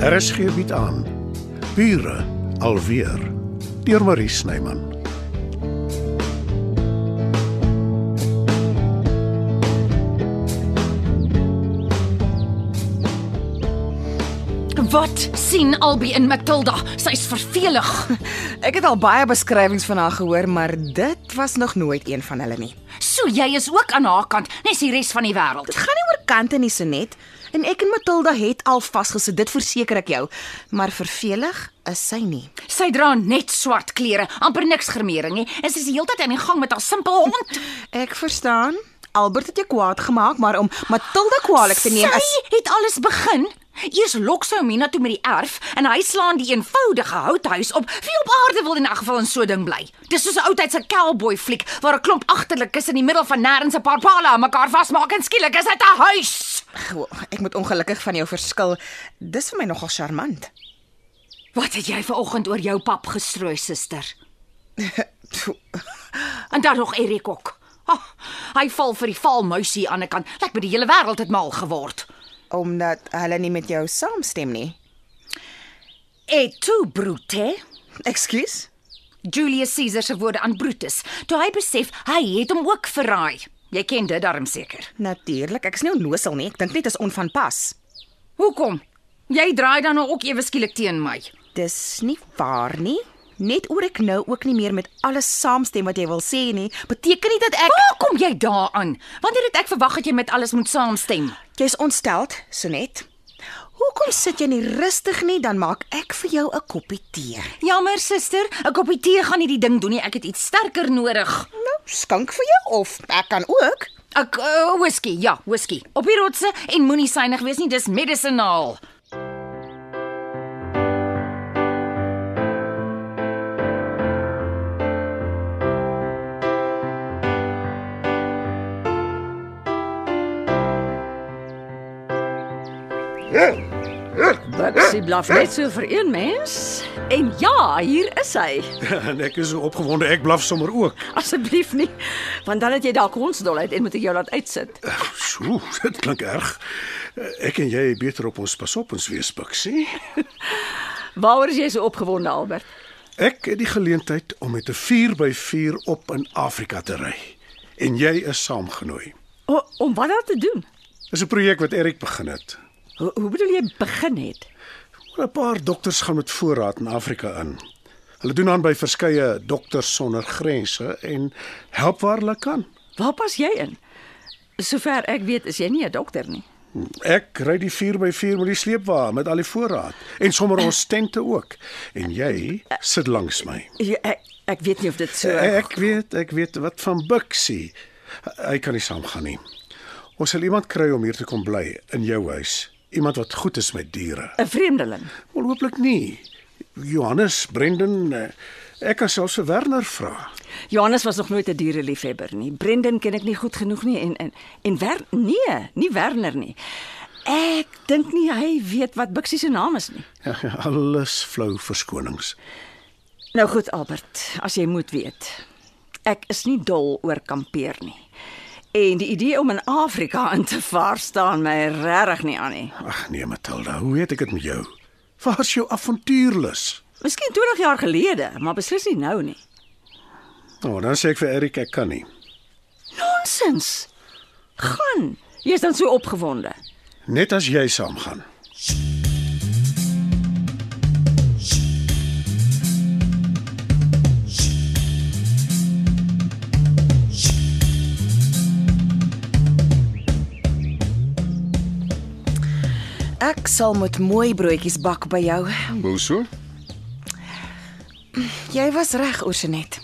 RSG Er bied aan. Bure alweer deur Marie Snyman. Wat sien Albie in Matilda? Sy's vervelig. Ek het al baie beskrywings van haar gehoor, maar dit was nog nooit een van hulle nie. So jy is ook aan haar kant, nes die res van die wêreld. Dit gaan nie oor kante nie, Sonet. En ek en Matilda het al vasgesit, dit verseker ek jou, maar vervelig is sy nie. Sy dra net swart klere, amper niks grimering nie. En sy's die hele tyd aan die gang met haar simpel hond. Ek verstaan. Albert het jou kwaad gemaak, maar om Matilda kwaadlik te neem sy is het alles begin. Eers lok sy Mina toe met die erf en hy slaan die eenvoudige houthuis op. Wie op aarde wil in 'n geval in so 'n ding bly? Dis soos 'n ou tyd se cowboy fliek waar 'n klomp agterlikes in die middel van nêrens 'n paar pale aan mekaar vasmaak en skielik is dit 'n huis. Goh, ek moet ongelukkig van jou verskil. Dis vir my nogal charmant. Wat het jy vanoggend oor jou pap gestrooi, suster? En dan nog Erik ook. Oh, hy val vir die valmuisie aan die kant. Lyk my die hele wêreld het mal geword. Omdat hulle nie met jou saamstem nie. Et tu, Brute? Ekskuus? Julius Caesar se woorde aan Brutus toe hy besef hy het hom ook verraai. Jy ken dit darm seker. Natuurlik, ek is nie onnosel nie. Ek dink net dit is onvanpas. Hoekom? Jy draai dan nou ook ewe skielik teen my. Dis nie waar nie. Net oor ek nou ook nie meer met alles saamstem wat jy wil sê nie, beteken nie dat ek Waar kom jy daaraan? Wanneer het ek verwag dat jy met alles moet saamstem? jy's ontsteld, Sonet. Hoekom sit jy nie rustig nie, dan maak ek vir jou 'n koppie tee. Jammer, suster, 'n koppie tee gaan nie die ding doen nie. Ek het iets sterker nodig. Nou, skink vir jou of ek kan ook. 'n uh, whisky, ja, whisky. Op die rotse en moenie synig wees nie, dis medisinaal. Buxie blaf net so vir een mens. En ja, hier is hy. en ek is so opgewonde, ek blaf sommer ook. Asseblief nie, want dan het jy dalk hondsdolheid en moet ek jou laat uitsit. Sjoe, dit klink erg. Ek en jy beter op ons pas op ons wees, Bixie. Waaroor is jy so opgewonde, Albert? Ek het die geleentheid om met 'n 4x4 op in Afrika te ry. En jy is saamgenooi. O, om wat daar te doen? Dis 'n projek wat Erik begin het. Hoe, hoe bedoel jy begin het? Maar 'n paar dokters gaan met voorraad in Afrika in. Hulle doen aan by verskeie dokters sonder grense en help waar hulle kan. Waar pas jy in? Sover ek weet, is jy nie 'n dokter nie. Ek ry die 4x4 met die sleepwa met al die voorraad en sommer ons tente ook. En jy sit langs my. Jy, Ja, ek, Eh, ek weet nie of dit so Ek weet, ek weet wat van Bixie. Hy kan nie saamgaan nie. Ons sal iemand kry om hier te kom bly in jou huis. Iemand wat goed is met diere. 'n vreemdeling. Wel hooplik nie. Johannes, Brendan, eh, ek kan selfs vir Werner vra. Johannes was nog nooit 'n diereliefhebber nie. Brendan ken ek nie goed genoeg nie en en en Wer nee, nie Werner nie. Ek dink nie hy weet wat Bixie se naam is nie. Ja, Alles flou verskonings. Nou goed Albert, as jy moet weet. Ek is nie dol oor kampeer nie. En die idee om in Afrika in te vaar staan my regtig nie aan nie. Ag nee, Matilda, hoe weet ek dit met jou? Waar's jou avontuurlus? Miskien 20 jaar gelede, maar beslis nie nou nie. Nou, dan sê ek vir Erik ek kan nie. Nonsens. Gaan. Jy's dan so opgewonde. Net as jy saamgaan. Ek sal met mooi broodjies bak by jou. Hoe so? Jy was reg, Oorsenet.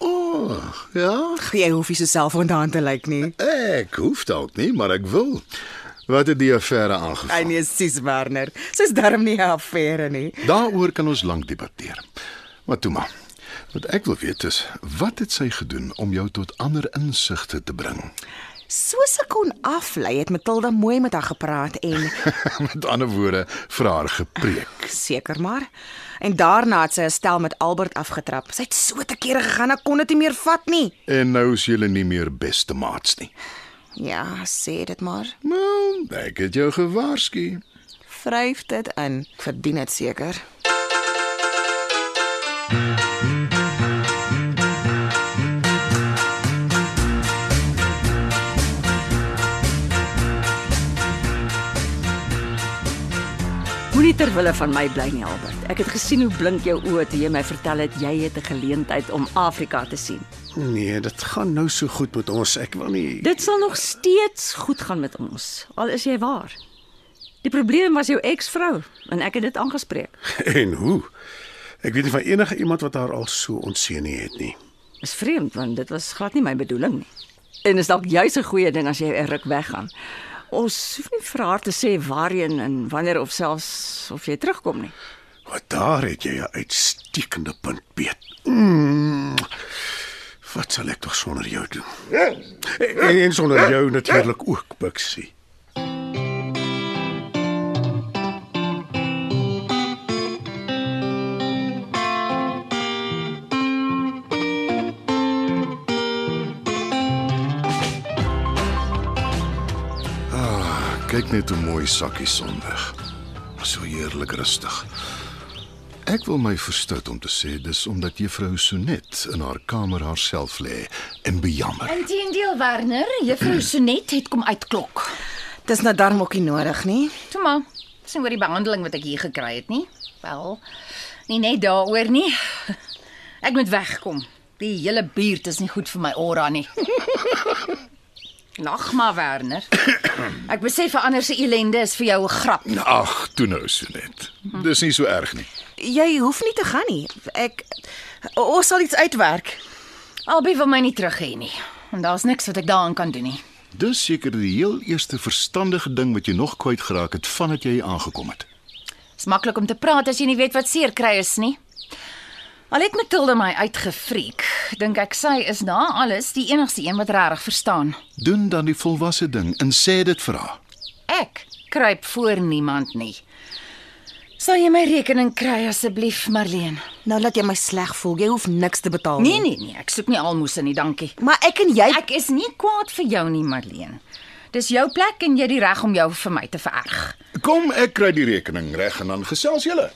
O, oh, ja. Jy hoef nie so self ontdaan te lyk nie. Ek hoef dalk nie, maar ek wil. Wat het die affære aangevang? nee, sis Werner. Dis darm nie 'n affære nie. Daaroor kan ons lank debatteer. Maar toe maar. Wat ek wil weet is, wat het sy gedoen om jou tot ander insigte te bring? Soos ek kon aflei, het Matilda mooi met haar gepraat en Met ander woorde, vir haar gepreek. seker maar. En daarna het sy 'n stel met Albert afgetrap. Sy het so te kere gegaan, ek kon dit nie meer vat nie. En nou is julle nie meer beste maats nie. Ja, sê dit maar. Nou, ek het jou gewaarsku. Vryf dit in. Ek verdien dit seker. Moenie ter wille van my bly nie, Albert. Ek het gesien hoe blink jou oë toe jy my vertel het jy het 'n geleentheid om Afrika te sien. Nee, dit gaan nou so goed met ons. Ek wil nie Dit sal nog steeds goed gaan met ons, al is jy waar. Die probleem was jou eksvrou en ek het dit aangespreek. en hoe. Ek weet nie van enige iemand wat haar al so ontseen nie het nie. Is vreemd want dit was glad nie my bedoeling nie. En is dalk juis 'n goeie ding as jy 'n ruk weggaan. Ons hoef nie vir haar te sê waarheen en wanneer of selfs of jy terugkom nie. Wat daar het jy 'n uitstekende punt, Piet. Mm. Wat sal ek tog sonder jou doen? En, en sonder jou natuurlik ook, Bixie. Ah, Kyk net hoe mooi sakkie Sondag. So heerlik rustig. Ek wil my verstout om te sê dis omdat juffrou Sonet in haar kamer haarself lê en bejammer. Inteendeel Werner, juffrou Sonet het kom uitklok. Dis nou darm ook nie nodig nie. Toe maar, sien oor die behandeling wat ek hier gekry het nie. Wel, nie net daaroor nie. Ek moet wegkom. Die hele buurt is nie goed vir my aura nie. Lag maar Werner. Ek besef verander se ellende is vir jou 'n grap. Ag, toe nou Sonet. Dis nie so erg nie. Jy hoef nie te gaan nie. Ek o- ons sal iets uitwerk. Albie wil my nie terug hê nie. En daar's niks wat ek daaraan kan doen nie. Dis seker die heel eerste verstandige ding wat jy nog kwyt geraak het vandat jy hier aangekom het. Dis maklik om te praat as jy nie weet wat seer kry is nie. Al het Matilda my uitgefriek, dink ek sy is na alles die enigste een wat regtig verstaan. Doen dan die volwasse ding en sê dit vir haar. Ek kruip voor niemand nie. Sal jy my rekening kry asseblief, Marleen? Nou laat jy my sleg voel. Jy hoef niks te betaal Nee nee nee, ek soek nie almoses nie, dankie. nee, Maar ek en jy Ek is nie kwaad vir jou nie, Marleen. Dis jou plek en jy het die reg om jou vir my te vererg. Kom, ek kry die rekening reg en dan gesels julle.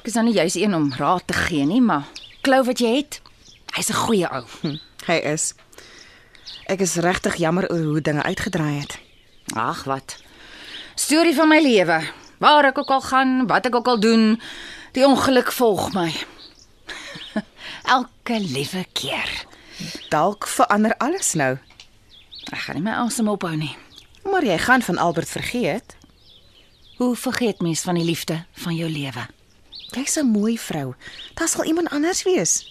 Ek is nou nie juis een om raad te gee nie, maar klou wat jy het. Hy's 'n goeie ou. hy is. Ek is regtig jammer oor hoe dinge uitgedraai het. Ag, wat. Storie van my lewe. Waar ek ook al gaan, wat ek ook al doen, die ongeluk volg my. Elke liewe keer. Dalk verander alles nou. Ek gaan nie my asem ophou nie. Maar jy gaan van Albert vergeet. Hoe vergeet mens van die liefde van jou lewe? Jy's 'n mooi vrou. Daar sal iemand anders wees.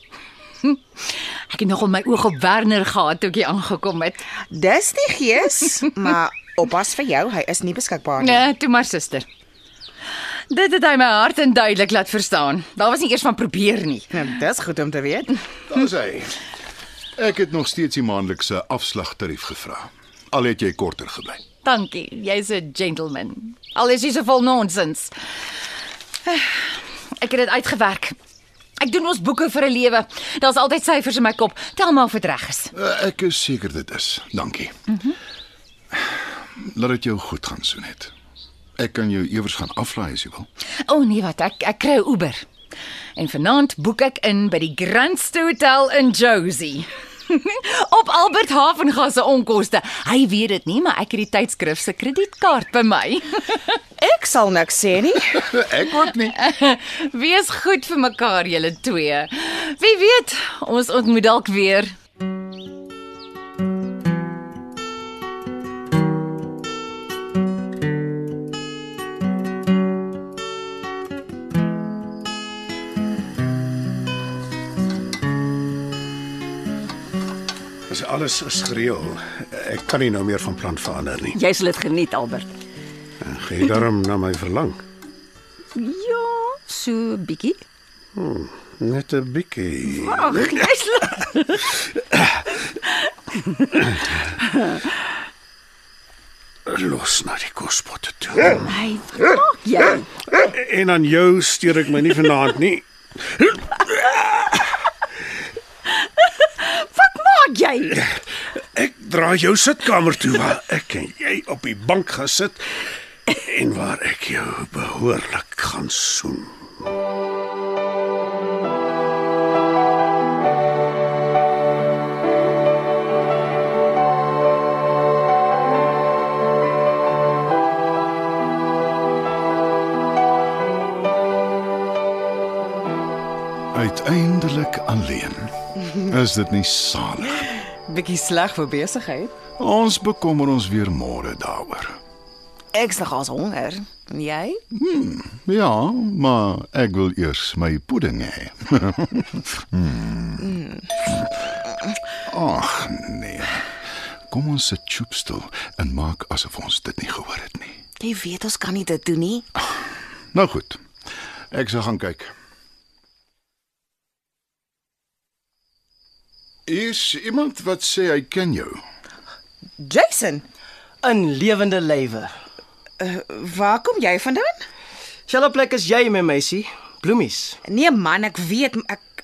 Ek het nogal my oog op Werner gehad toe ek hier aangekom het. Dis die gees, maar oppas vir jou, hy is nie beskikbaar nie. Nee, toe maar suster. Dit het hy my hart en duidelik laat verstaan. Daar was nie eers van probeer nie. Nee. Dis goed om te weet. Daar's hy. Ek het nog steeds die maandelikse afslagtarief gevra. Al het jy korter gebly. Dankie, jy's 'n gentleman. Al is jy so vol nonsens. Ek het dit uitgewerk. Ek doen ons boeke vir 'n lewe. Daar's altyd syfers in my kop. Tel maar of dit reg is. Eh, Ek is seker dit is. Dankie. Mhm. Mm Laat dit jou goed gaan, Sonet. Ek kan jou iewers gaan aflaai as jy wil. O oh, nee, wat ek ek kry 'n Uber. En vanaand boek ek in by die Grandste Hotel in Josie. Op Albert Havengas se onkoste. Hy weet dit nie, maar ek het die tydskrif se kredietkaart by my. Ek sal niks sê nie. Ek ook nie. Wees goed vir mekaar julle twee. Wie weet, ons ontmoet dalk weer. Dis alles is gereël. Ek kan nie nou meer van plan verander nie. Jy sal dit geniet, Albert. Gee daarom na my verlang. Ja, so bietjie. Net 'n bietjie. Ag, jy's Los na die kospotte Ja. toe. my. Wat maak jy? En aan jou steur ek my nie vanaand nie. Wat maak jy? Ek dra jou sitkamer toe waar ek en jy op die bank gaan sit en waar ek jou behoorlik gaan soen. Uiteindelik alleen. Is dit nie salig? Bietjie sleg vir besigheid. Ons bekommer ons weer môre daaroor. Ek's nogals honger. En jy? Ja, maar ek wil eers my pudding hê. Ag nee. Kom ons sit choopstil en maak asof ons dit nie gehoor het nie. Jy weet ons kan nie dit doen nie. Nou goed. Ek sal gaan kyk. Is iemand wat sê hy ken jou? Jason, in lewende lywe. waar kom jy vandaan? Selfe plek as jy, my meisie, bloemies, Nee man, ek weet maar ek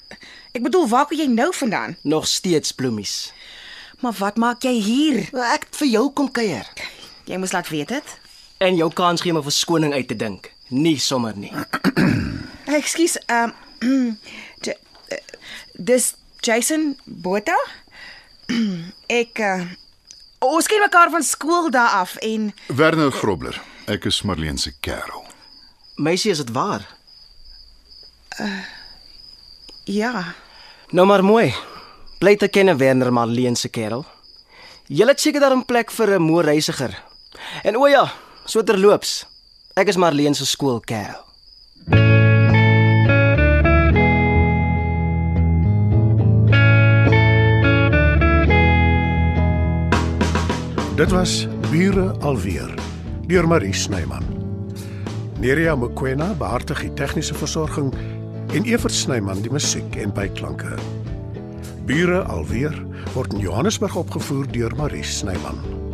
ek bedoel waar kom jy nou vandaan? nog steeds bloemies. Maar wat maak jy hier? Ek het vir jou kom kuier Jy moes laat weet dit. en jou kans gee om 'n verskoning uit te dink. Nie sommer nie. Ekskuus, ehm um, dis Jason Botha. ek uh, ons ken mekaar van skool daar af en Werner Grobler. Ek is Marlene se kerel. Meisie, is dit waar? ja, Nou maar mooi. Bly te ken Werner Marleen se kerel. Jy het seker daar 'n plek vir 'n mooi reisiger. En o ja, so terloops. Ek is Marleen se skoolkerel. Dit was Bure alweer deur Marie Snyman. Nerea Mkwena behartig die tegniese versorging en Evert Snyman die musiek en byklanke. Bure alweer word in Johannesburg opgevoer deur Marie Snyman.